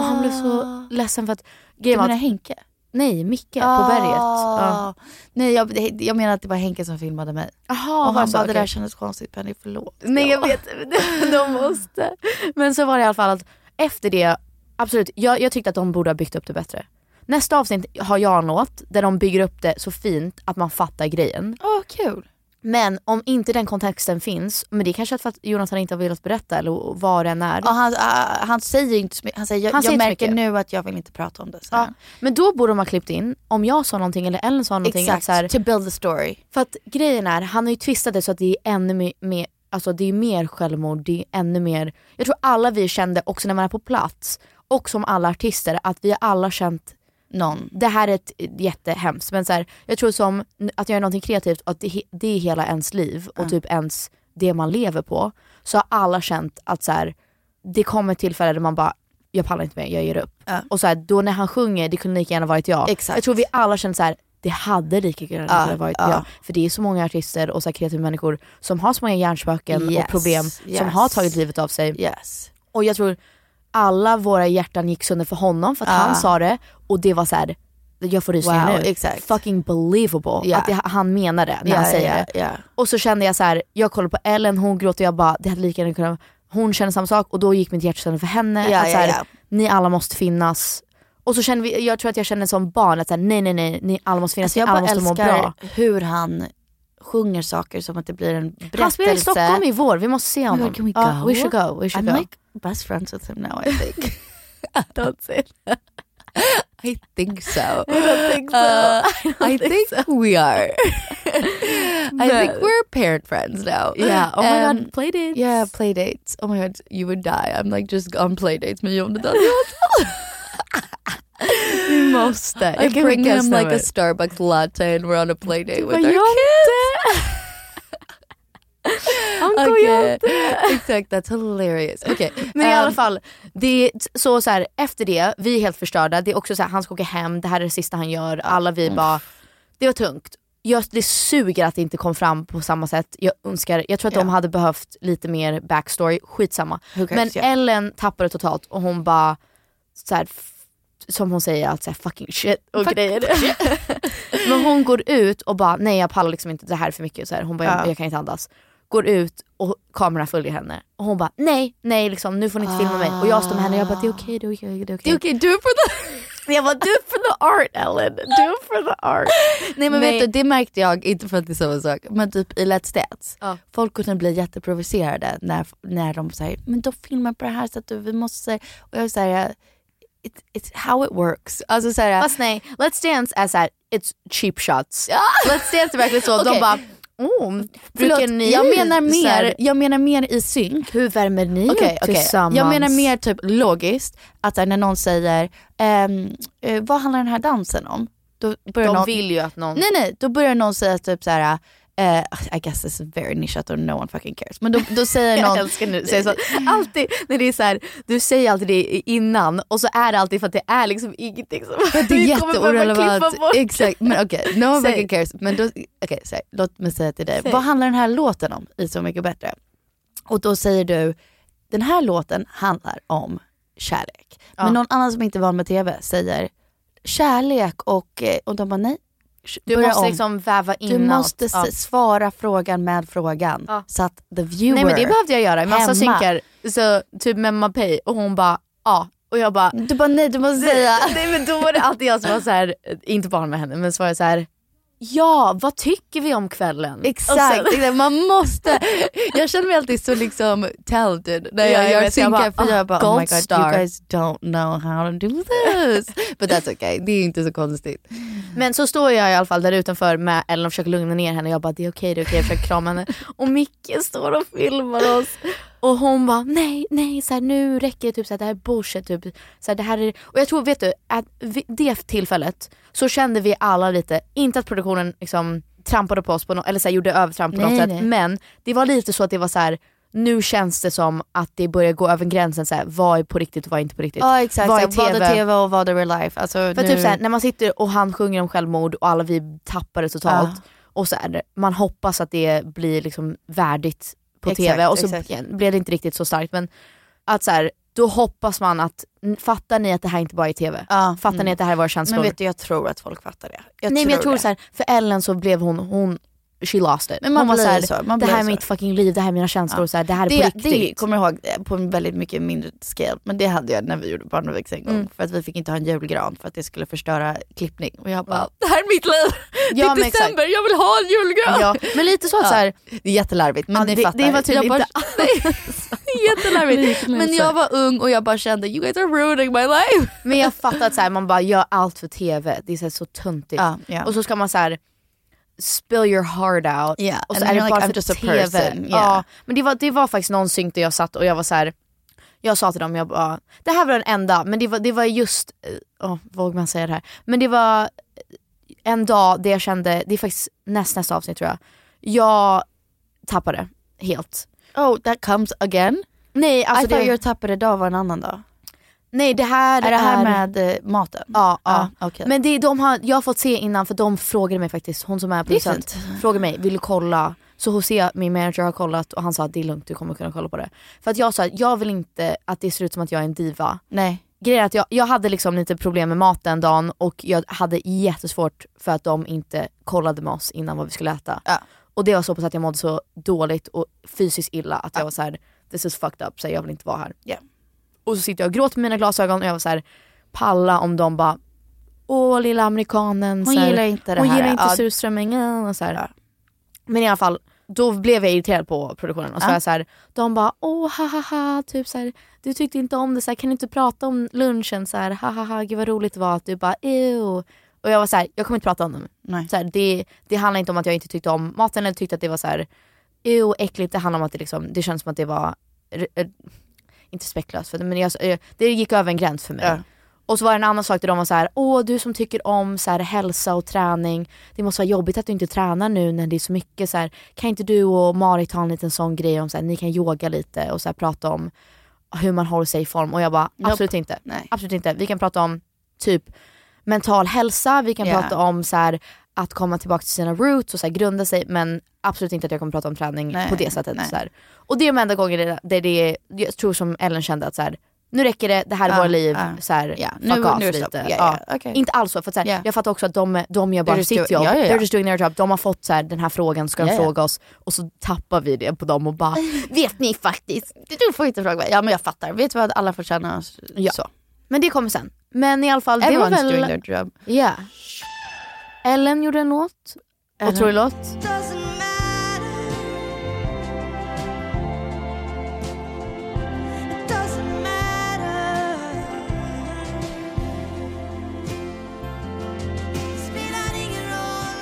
S2: han blev så ledsen för att...
S4: Du
S2: var
S4: Ah. menar
S2: att-
S4: Henke?
S2: Nej, Micke
S4: Ah.
S2: på berget. Ja.
S4: Nej jag, det- jag menar att det var Henke som filmade mig.
S2: Jaha,
S4: och
S2: var
S4: han
S2: det så?
S4: bara, det där
S2: Okej.
S4: kändes konstigt Penny, förlåt.
S2: Nej jag vet, de måste. Men så var det i alla fall att efter det, absolut, jag, jag tyckte att de borde ha byggt upp det bättre. Nästa avsnitt har jag en låt där de bygger upp det så fint att man fattar grejen.
S4: Åh kul.
S2: Men om inte den kontexten finns, men det är kanske är för att Jonathan inte har velat berätta eller vad den är.
S4: Och han, ah, han säger inte så mycket, han säger jag,
S2: Han säger
S4: jag
S2: inte så
S4: märker
S2: mycket.
S4: nu att jag vill inte prata om det. säger
S2: Ja,
S4: han.
S2: men då borde de ha klippt in om jag sa någonting eller Ellen sa någonting.
S4: Exakt,
S2: att så här,
S4: to build the story.
S2: För att grejen är, han har ju twistat det så att det är ännu me- mer, alltså det är mer självmord, det är ännu mer, jag tror alla vi kände också när man är på plats och som alla artister att vi har alla känt
S4: någon.
S2: Det här är ett jättehemskt men så här, jag tror som n- att göra någonting kreativt, att det, he- det är hela ens liv och
S4: Ja.
S2: typ ens det man lever på. Så har alla känt att så här, det kommer ett tillfälle där man bara, jag pallar inte mer, jag ger upp. Och så här, då när han sjunger, det kunde lika gärna varit jag.
S4: Exakt.
S2: Jag tror vi alla känner så här. det hade lika gärna
S4: Ja,
S2: varit
S4: ja.
S2: jag. För det är så många artister och så här kreativa människor som har så många hjärnspöken
S4: Yes,
S2: och problem
S4: yes.
S2: som har tagit livet av sig. Och jag tror alla våra hjärtan gick sönder för honom för att
S4: Ja.
S2: han sa det och det var så här. jag får rysningar
S4: Wow,
S2: nu. Fucking believable
S4: Ja.
S2: att det, han menar det när
S4: Ja,
S2: han säger
S4: ja,
S2: det.
S4: ja.
S2: Och så kände jag så här, jag kollade på Ellen, hon gråter, jag bara det hade lika gärna kunnat, hon känner samma sak och då gick mitt hjärta sönder för henne.
S4: Ja,
S2: att så här,
S4: ja, ja.
S2: Ni alla måste finnas. Och så kände vi, jag tror att jag kände som barn att så här, nej nej nej, ni alla måste finnas,
S4: Alltså jag
S2: ni alla
S4: bara
S2: måste må
S4: älskar
S2: bra.
S4: hur han sjunger saker som att det blir en berättelse.
S2: Han spelar i Stockholm i vår, vi måste se
S4: Oh my
S2: honom.
S4: God, can we
S2: Ja,
S4: go?
S2: we should go, we should
S4: I'm
S2: go.
S4: like best friends with him now I think. I don't say that. I think so. I
S2: don't think so.
S4: I, think, we are. I think
S2: But-
S4: we're parent friends now.
S2: Yeah, oh my
S4: Um,
S2: god, play dates.
S4: Yeah, play dates. Oh my god, you would die. I'm like just on play dates med John Daniel. Vi måste.
S2: I
S4: I
S2: can
S4: bring
S2: guess
S4: him like
S2: them.
S4: a Starbucks latte and we're on a play date with our
S2: jag
S4: kids.
S2: Anko, jag
S4: Exakt, that's hilarious. Okej.
S2: Men i alla
S4: ehm,
S2: fall, det är t- så, så här, efter det, vi är helt förstörda. Det är också så här, han ska åka hem, det här är det sista han gör. Alla vi bara, det var tungt. Jag, det suger att det inte kom fram på samma sätt. Jag önskar, jag tror att de
S4: Ja.
S2: hade behövt lite mer backstory, skitsamma.
S4: Who cares,
S2: Men
S4: ja.
S2: Ellen tappade totalt och hon bara, så här, f- som hon säger, att så här, fucking shit och
S4: Fuck
S2: grejer. Men hon går ut och bara, nej jag pallar liksom inte, det här är för mycket. Så här. Hon bara,
S4: Ja.
S2: jag, jag kan inte andas. Går ut och kameran följer henne. Och hon bara, nej, nej liksom, nu får ni inte filma mig. Och jag står med henne och jag bara, det är okej, det är okej, det är okej.
S4: Okej, do it for the... Jag bara, do it for the art Ellen. Do it for the art. Nej men
S2: Nej.
S4: vet du, det märkte jag, inte för att det är samma sak, men typ i Let's Dance. Folk kunde bli jätteprovocerade när, när de säger, men de filmar på det här sättet, vi måste... Och jag säger, it, it's how it works. Alltså såhär...
S2: Fast nej, Let's Dance är såhär, it's cheap shots. Let's Dance är verkligen så, de
S4: Okej.
S2: bara, oh, brukar ni
S4: jag menar,
S2: så här-
S4: mer, jag menar mer i synk.
S2: Hur värmer ni
S4: Okej,
S2: upp
S4: okej.
S2: tillsammans?
S4: Jag menar mer typ logiskt, att så här, när någon säger ehm, eh, vad handlar den här dansen om? Då börjar
S2: de
S4: någon,
S2: vill ju att någon...
S4: Nej nej, då börjar någon säga typ så här. eh, I guess this is very nischat and no one fucking cares. Men då, då säger någon...
S2: Jag älskar när du säger så. Alltid när det är så här, du säger alltid det innan och så är det alltid för att det är liksom ingenting som
S4: För att det är
S2: vi kommer behöva
S4: jätteorelevant.
S2: klippa bort.
S4: Exakt, men okej. No one
S2: Säg.
S4: fucking cares. Men då, okay, säg, låt mig säga till dig.
S2: Säg.
S4: Vad handlar den här låten om i Så mycket bättre? Och då säger du, den här låten handlar om kärlek.
S2: Ja.
S4: Men någon annan som inte är van med tv säger kärlek och, eh, och de bara nej.
S2: Du
S4: börja
S2: måste
S4: om.
S2: liksom väva in
S4: Du måste
S2: allt. Ja.
S4: s- svara frågan med frågan så att the viewer
S2: Nej men det behövde jag göra i massa
S4: hemma-
S2: synkar. Så, typ med Mapei och hon bara ja. Och jag bara
S4: Du bara nej, du måste säga.
S2: nej, nej men då var det alltid jag som var så här, inte barn med henne men så var jag så här. Ja, vad tycker vi om kvällen? Och sen-
S4: Exakt, exakt, man måste. Jag känner mig alltid så liksom talented när
S2: Ja,
S4: jag
S2: jag
S4: gör
S2: vet, jag
S4: synkar
S2: bara,
S4: för jag bara oh my
S2: gold
S4: god
S2: star."
S4: you guys don't know how to do this. But that's okay, det är inte så konstigt.
S2: Men så står jag i alla fall där utanför med Ellen och försöker lugna ner henne. Jag bara det är okej, det är okej. Jag försöker krama henne. Och Micke står och filmar oss. Och hon bara nej, nej, så här, nu räcker det. Typ, så här, det här är bullshit. Typ, så här, det här är... Och jag tror, vet du, att vid det tillfället så kände vi alla lite, inte att produktionen liksom trampade på oss på nå eller så här, gjorde övertramp på
S4: Nej,
S2: något sätt.
S4: nej.
S2: Men det var lite så att det var så här. Nu känns det som att det börjar gå över gränsen, så här, vad är på riktigt och vad är inte på riktigt.
S4: Ja exakt,
S2: vad är
S4: vad är
S2: TV?
S4: tv och vad är real life. Alltså,
S2: För
S4: nu...
S2: typ såhär, när man sitter och han sjunger om självmord och alla vi tappar det totalt. Och så man hoppas att det blir liksom värdigt på
S4: Exakt,
S2: tv och så
S4: exakt.
S2: blev det inte riktigt så starkt. Men att så då hoppas man att, n- fattar ni att det här inte bara är tv? Fattar ni att det här är våra känslor?
S4: Mm. Men vet du, jag tror att folk fattar det. Jag
S2: Nej men
S4: tror
S2: jag tror
S4: det.
S2: så här, för Ellen så blev hon, hon she lost it.
S4: Men man
S2: hon var
S4: blir
S2: så här,
S4: så, man
S2: det
S4: blir
S2: här är
S4: så.
S2: mitt fucking liv, det här är mina känslor,
S4: Ja.
S2: så här, det här är på
S4: det,
S2: riktigt.
S4: det kommer jag ihåg eh, på en väldigt mycket mindre scale, men det hade jag när vi gjorde Barnavik en gång.
S2: Mm.
S4: För att vi fick inte ha en julgran för att det skulle förstöra klippning. Och jag bara, det här är mitt liv!
S3: Ja,
S4: det är
S3: men exakt.
S4: december, jag vill ha en julgran!
S3: Ja, men lite så att så här-
S4: det är jättelarvigt men
S3: Ja,
S4: ni
S3: det-
S4: fattar.
S3: det var tydligen
S4: jag bara,
S3: inte
S4: jättelarvigt. men jag var ung och jag bara kände, you guys are ruining my life.
S2: Men jag fattar att så här, man bara gör allt för tv, det är så, här, så töntigt.
S4: Ja, ja.
S2: Och så ska man så här spill your heart out
S4: Yeah,
S2: och så
S4: and
S2: är det
S4: you're like,
S2: bara för
S4: I'm just a
S2: tv.
S4: person,
S2: Ja,
S4: yeah.
S2: men det var, det var faktiskt någon synk där jag satt och jag var så här. Jag sa till dem, jag bara, det här var den enda, men det var, det var just, eh, åh, vågar man säga det här? Men det var en dag där jag kände, det är faktiskt näst, nästa avsnitt tror jag, jag tappade helt.
S4: Oh, that comes again?
S2: Nej, alltså
S4: I thought
S2: det-
S4: your tappade dag var en annan dag.
S2: Nej det här
S4: Är det här med eh, maten?
S2: Ja, ja.
S4: Ah, okej.
S2: men det, de har, jag har fått se innan för de frågade mig faktiskt, hon som är producent
S4: fint. Mm.
S2: frågade mig, vill du kolla? Så Jose, min manager har kollat och han sa att det är lugnt, du kommer kunna kolla på det. För att jag sa, jag vill inte att det ser ut som att jag är en diva.
S4: Nej.
S2: Grejen är att jag, jag hade liksom lite problem med mat den dagen och jag hade jättesvårt för att de inte kollade med oss innan vad vi skulle äta. Och det var så pass att jag mådde så dåligt och fysiskt illa att jag var så här: this is fucked up, så här, jag vill inte vara här. Och så sitter jag och gråter med mina glasögon och jag var så här, palla om de bara Åh lilla amerikanen.
S4: Hon
S2: så här,
S4: gillar inte det
S2: Hon
S4: här.
S2: gillar inte
S4: Ja.
S2: surströmmingen och så här. Men i alla fall, då blev jag irriterad på produktionen och så
S4: Ja.
S2: var jag så här, de bara åh ha ha ha, typ så här, du tyckte inte om det, så här, kan du inte prata om lunchen så här, ha ha ha, gud vad roligt det var att du bara ew. Och jag var så här, jag kommer inte prata om det. Så här, det. Det handlar inte om att jag inte tyckte om maten eller tyckte att det var så här ew äckligt, det handlar om att det liksom, det känns som att det var r- r- inte respektlöst, för det, men jag, jag- det gick över en gräns för mig. Och så var det en annan sak där de var så här: åh du som tycker om så här, hälsa och träning, det måste vara jobbigt att du inte tränar nu när det är så mycket så här. kan inte du och Marit ha en liten sån grej om så här, ni kan yoga lite och så här, prata om hur man håller sig i form och jag bara
S4: Nope.
S2: absolut inte,
S4: Nej.
S2: absolut inte. Vi kan prata om typ mental hälsa, vi kan
S4: Ja.
S2: prata om så här, att komma tillbaka till sina roots och så här, grunda sig men absolut inte att jag kommer prata om träning på det sättet.
S4: nej.
S2: Så här. Och det är de enda gångerna där det, det, jag tror som Ellen kände att så här, nu räcker det, det här är
S4: Ja,
S2: våra liv,
S4: ja.
S2: så här,
S4: Ja,
S2: fuck
S4: nu-
S2: off
S4: nu är det
S2: lite.
S4: stopp. Ja, ja,
S2: Ja.
S4: okej.
S2: Inte alls så, för att så här,
S4: Ja.
S2: jag fattar också att de, de gör bara
S4: They're just
S2: sitt jobb,
S4: doing- ja, ja, ja.
S2: they're just doing their job, de har fått så här, den här frågan, ska de
S4: Ja, ja.
S2: fråga oss? Och så tappar vi det på dem och bara,
S4: Vet ni faktiskt, du får inte fråga mig. Ja men jag fattar, vet du vad alla får känna
S2: ja.
S4: så.
S2: Men det kommer sen. Men i alla fall, det var
S4: Everyone's
S2: väl...
S4: doing their job.
S2: Ja. Ellen gjorde en låt,
S4: Ellen.
S2: otrolig låt.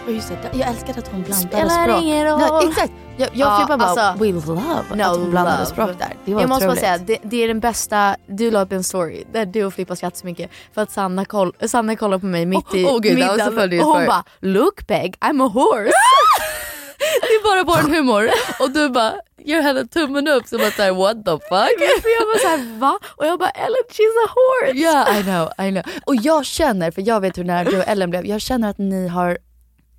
S4: Och just det, jag älskar att hon blandade
S2: Spelar
S4: språk.
S2: ingen roll.
S4: Nej, exakt, jag, jag
S2: Ja,
S4: flippar bara
S2: alltså,
S4: we love
S2: No
S4: att hon blandade
S2: love.
S4: språk där. Det var
S2: Jag måste bara
S4: otroligt.
S2: säga, det, det är den bästa, du la upp en story där du och Filippa skrattade så mycket för att Sanna, koll, Sanna kollade på mig mitt i
S4: Oh, oh, gud, that was a
S2: middagen
S4: funny
S2: och hon
S4: story.
S2: bara “look bag, I'm a horse”.
S3: Det är bara vår humor och du bara gör henne tummen upp som att såhär what the fuck.
S2: För jag var såhär va? Och jag bara “Ellen she's a horse”.
S4: Yeah I know, I know. Och jag känner, för jag vet hur nära du och Ellen blev, jag känner att ni har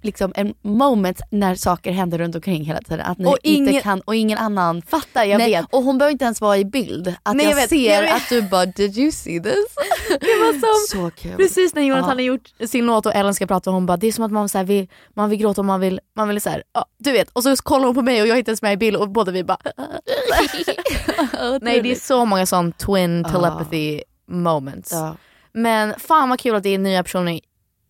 S4: liksom en moment när saker händer runt omkring hela tiden. Att ni
S2: Och
S4: inte
S2: ingen-
S4: kan och ingen annan
S2: Fattar, jag
S4: Nej,
S2: vet.
S4: Och hon behöver inte ens vara i bild. Att
S2: Nej,
S4: jag,
S2: jag vet,
S4: ser
S2: jag vet.
S4: att du bara did you see this?
S2: Det var som,
S4: Så kul.
S2: precis när Jonathan
S4: Ja.
S2: hade gjort sin låt och Ellen ska prata och hon bara “det är som att man, så här, vill, man vill gråta och man vill, man vill så här, ja, du vet”. Och så kollar hon på mig och jag är inte ens med i bild och båda vi bara Nej det är så många sån twin
S4: Ja.
S2: telepathy moments.
S4: Ja.
S2: Men fan vad kul att det är nya personer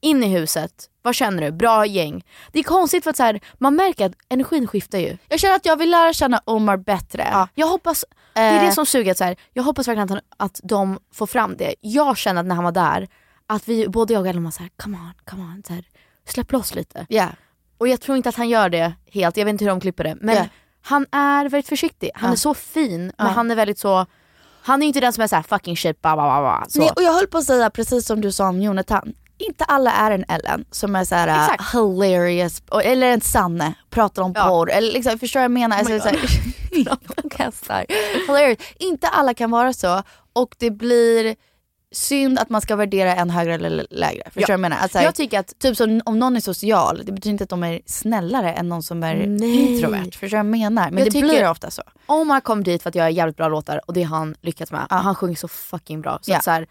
S2: in i huset. Vad känner du? Bra gäng. Det är konstigt för att så här, man märker att energin skiftar ju.
S4: Jag känner att jag vill lära känna Omar bättre.
S2: Ja, jag hoppas, det är det
S4: Eh.
S2: som suger. Att så här, jag hoppas verkligen att, han, att de får fram det. Jag känner att när han var där, att vi, både jag och Ellen var såhär, come on, come on, så här, släpp loss lite.
S4: Ja.
S2: Och jag tror inte att han gör det helt, jag vet inte hur de klipper det. Men
S4: Ja.
S2: han är väldigt försiktig, han
S4: Ja.
S2: är så fin, men
S4: Ja.
S2: han är väldigt så, han är inte den som är såhär fucking shit, ba, ba, ba, ba. Så.
S4: Nej, och jag höll på att säga precis som du sa om Jonathan. Inte alla är en Ellen som är så här äh,
S2: Exakt.
S4: hilarious, och- eller en Sanne, pratar om porr. Eller liksom, förstår vad jag menar?
S2: Oh
S4: alltså, så här, kastar. Hilarious. Inte alla kan vara så och det blir synd att man ska värdera en högre eller lägre. Förstår du
S2: Ja.
S4: vad jag menar? Alltså,
S2: Jag
S4: tycker att typ som om någon är social, det betyder inte att de är snällare än någon som är
S2: Nej.
S4: introvert. Förstår du vad jag menar? Men
S2: Jag
S4: det
S2: tycker-
S4: blir ofta så.
S2: Omar kom dit för att jag är jävligt bra låtar och det har han lyckats med. Han sjunger så fucking bra. Så
S4: Ja.
S2: att så här,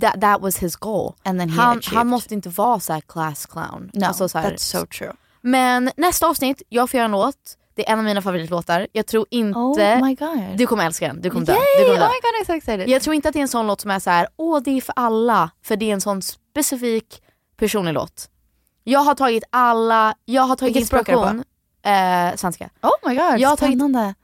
S2: that, that was his goal.
S4: And then he
S2: han,
S4: achieved.
S2: han måste inte vara så här class clown.
S4: No,
S2: Alltså så här-
S4: that's so true.
S2: Men nästa avsnitt, jag får göra en låt. Det är en av mina favoritlåtar. Jag tror inte...
S4: Oh my god.
S2: Du kommer älska den. Du kommer dö.
S4: Yay!
S2: Du kommer dö.
S4: Oh my god, I'm so excited.
S2: Jag tror inte att det är en sån låt som är så här, åh det är för alla. För det är en sån specifik personlig låt. Jag har tagit alla, jag har tagit
S4: Vilket språk är det på?
S2: inspiration. Eh, svenska.
S4: Oh my god,
S2: Jag har tagit
S4: spännande.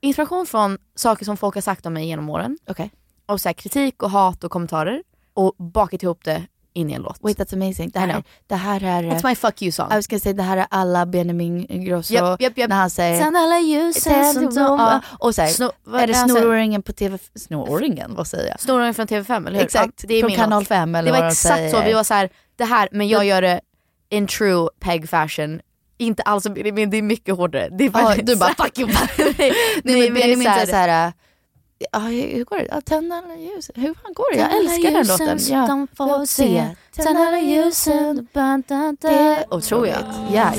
S2: inspiration från saker som folk har sagt om mig genom åren.
S4: Okej.
S2: Och så här, kritik och hat och kommentarer. Och bakat ihop det in i en låt.
S4: Wait eh, that's amazing. Det
S2: I
S4: här,
S2: know.
S4: det här är...
S2: That's my fuck you song.
S4: Jag ska säga det här är alla Benjamin Ingrosso
S2: Japp, japp, japp.
S4: när han säger...
S2: Tänd alla ljusen som de...
S4: Ja, Och så här,
S2: Snor- vad
S4: är det
S2: han säger?
S4: snoråringen på TV... Snoråringen, vad säger jag?
S2: Snoringen från TV5 eller hur?
S4: Exakt,
S2: Ja, det är
S4: från
S2: min
S4: kanal
S2: låt.
S4: 5 eller
S2: Det var
S4: vad de
S2: exakt så,
S4: säger.
S2: vi var så här, det här, men jag gör det in true peg fashion. Inte alls, men det är mycket hårdare. Det är
S4: Ja,
S2: väldigt
S4: du bara
S2: så här-
S4: fuck you.
S2: nej,
S4: Nej, men Benjamin säger så
S2: här,
S4: här... Ja, hur hur går det? Ja, Tänd alla ljus. Hur fan går det? Jag
S2: Tänd alla
S4: älskar den
S2: ljusen
S4: låten.
S2: så
S4: Ja.
S2: de får
S4: Låt
S2: se. Tänd alla ljusen.
S4: Det är otroligt. Ja.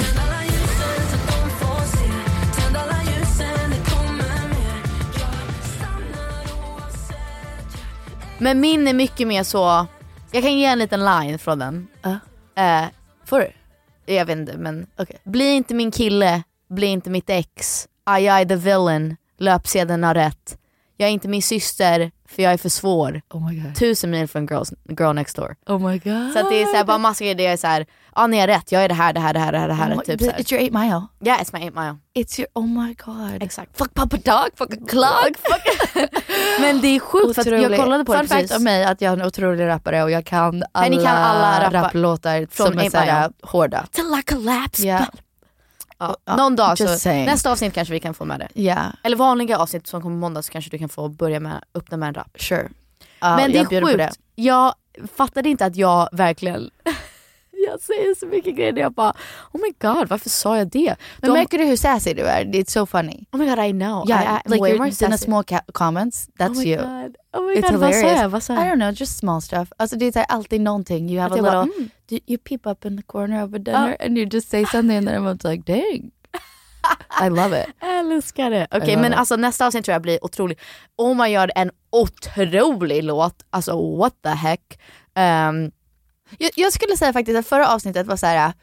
S2: Men min är mycket mer så, jag kan ge en liten line från den. Eh, Får du? Jag vet inte men, bli inte min kille, bli inte mitt ex. I, I the villain, löpsedeln har rätt. Jag är inte min syster för jag är för svår.
S4: Oh my god.
S2: Tusen mil från girls, girl next door.
S4: Oh my god.
S2: Så att Ah, det är så här, bara massor grejer, det är så här, ja ni har rätt, jag är det här, det här, det här, det här, det här.
S4: Oh my-
S2: typ
S4: but
S2: så här.
S4: It's your eight mile.
S2: Yeah, it's my eight mile.
S4: It's your, oh my god.
S2: Exakt.
S4: Fuck papa dog, fuck a clock.
S2: Men det är sjukt för att jag
S4: Otrolig.
S2: kollade på det
S4: Fun fact
S2: precis.
S4: om mig att jag är en otrolig rappare och jag kan alla,
S2: ni kan alla rappa-
S4: rapplåtar
S2: från
S4: som är
S2: Eight
S4: såhär
S2: Mile.
S4: hårda.
S2: Till I collapse.
S4: Ja.
S2: Ja, någon dag
S4: just
S2: så,
S4: saying.
S2: nästa avsnitt kanske vi kan få med det.
S4: Ja.
S2: Eller vanliga avsnitt som kommer på måndag så kanske du kan få börja med öppna med en rap.
S4: Sure.
S2: Men det är
S4: jag bjuder på
S2: sjukt.
S4: det.
S2: Jag fattade inte att jag verkligen, jag säger så mycket grejer där jag bara oh my god varför sa jag det?
S4: Men
S2: De,
S4: märker du hur sassy du är? It's so funny.
S2: oh my god I know. I,
S4: Yeah,
S2: I'm
S4: like
S2: way
S4: your,
S2: more
S4: dina
S2: sassy.
S4: små ca- comments, that's
S2: oh my
S4: you.
S2: God. Oh my
S4: It's
S2: god vad sa
S4: hilarious.
S2: jag? Vad sa
S4: I
S2: jag?
S4: don't know, just small stuff. Alltså det är såhär alltid någonting. You have a
S2: Att jag bara,
S4: little, you, you peep up in the corner of a dinner and you just say something and then everyone's like dang. I love it.
S2: Jag älskar det. Okej
S4: love
S2: men
S4: it.
S2: alltså nästa avsnitt tror jag blir otroligt. Om man gör en otrolig låt, alltså what the heck. Ehm,
S4: Jag, jag skulle säga faktiskt att förra avsnittet var så här.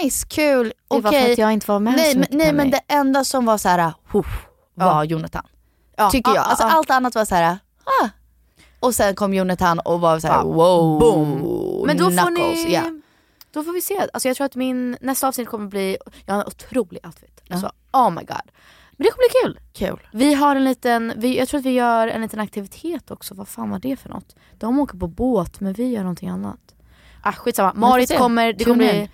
S4: nice, kul,
S2: det var för
S4: okej.
S2: att jag inte var med
S4: Nej,
S2: så
S4: men,
S2: mycket
S4: nej
S2: på
S4: men
S2: mig.
S4: det enda som var så här, "Huff", var Jonathan.
S2: Ja,
S4: tycker
S2: ja,
S4: jag.
S2: ja,
S4: Alltså
S2: ja.
S4: allt annat var så här. ah. Och sen kom Jonathan och var så här, wow, boom.
S2: Men då får
S4: knuckles.
S2: ni...
S4: Ja.
S2: Då får vi se. Alltså jag tror att min nästa avsnitt kommer bli... Jag har en otrolig outfit. Alltså, oh my god. Men det kommer bli kul.
S4: Kul.
S2: Vi har en liten... Vi, jag tror att vi gör en liten aktivitet också. Vad fan var det för något? De åker på båt men vi gör någonting annat. Ah, skitsamma.
S4: får
S2: Marit
S4: se.
S2: kommer. Det
S4: Tune
S2: kommer
S4: in.
S2: bli...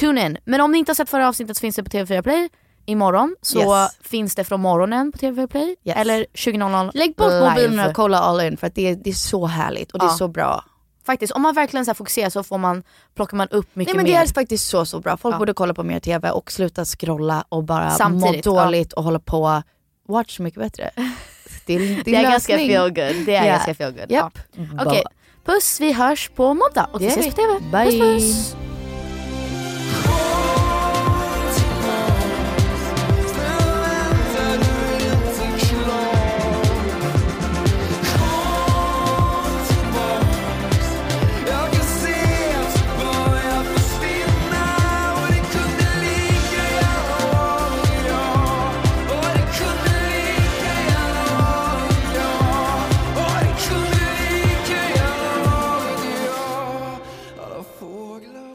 S2: Tune in. Men om ni inte har sett förra avsnittet så finns det på TV4 Play. Imorgon så
S4: Yes.
S2: finns det från morgonen på TV4 Play.
S4: Yes.
S2: Eller 20.00
S4: Lägg bort
S2: live.
S4: mobilerna och kolla all in för att det är, det är så härligt och det är
S2: Ja.
S4: så bra.
S2: Faktiskt, om man verkligen så här fokuserar så får man, plockar man upp mycket
S4: Nej men
S2: mer.
S4: det är faktiskt så så bra. Folk
S2: Ja.
S4: borde kolla på mer TV och sluta scrolla och bara
S2: Samtidigt,
S4: må
S2: ja.
S4: dåligt och hålla på. Watch mycket bättre. Det är, det är,
S2: Det är ganska
S4: lösning.
S2: feel good. Det är
S4: Ja.
S2: ganska feel good.
S4: Japp.
S2: Ja. Mm. Mm-hmm. Okej, puss. Vi hörs på måndag och vi
S4: Det
S2: ses
S4: gör
S2: på TV.
S4: vi.
S2: Puss
S4: Bye.
S2: puss.
S5: Jag kan se oss börja försvinna och det kunde lika gärna vara jag Och det kunde lika gärna vara jag Och det kunde lika gärna vara jag Alla fåglar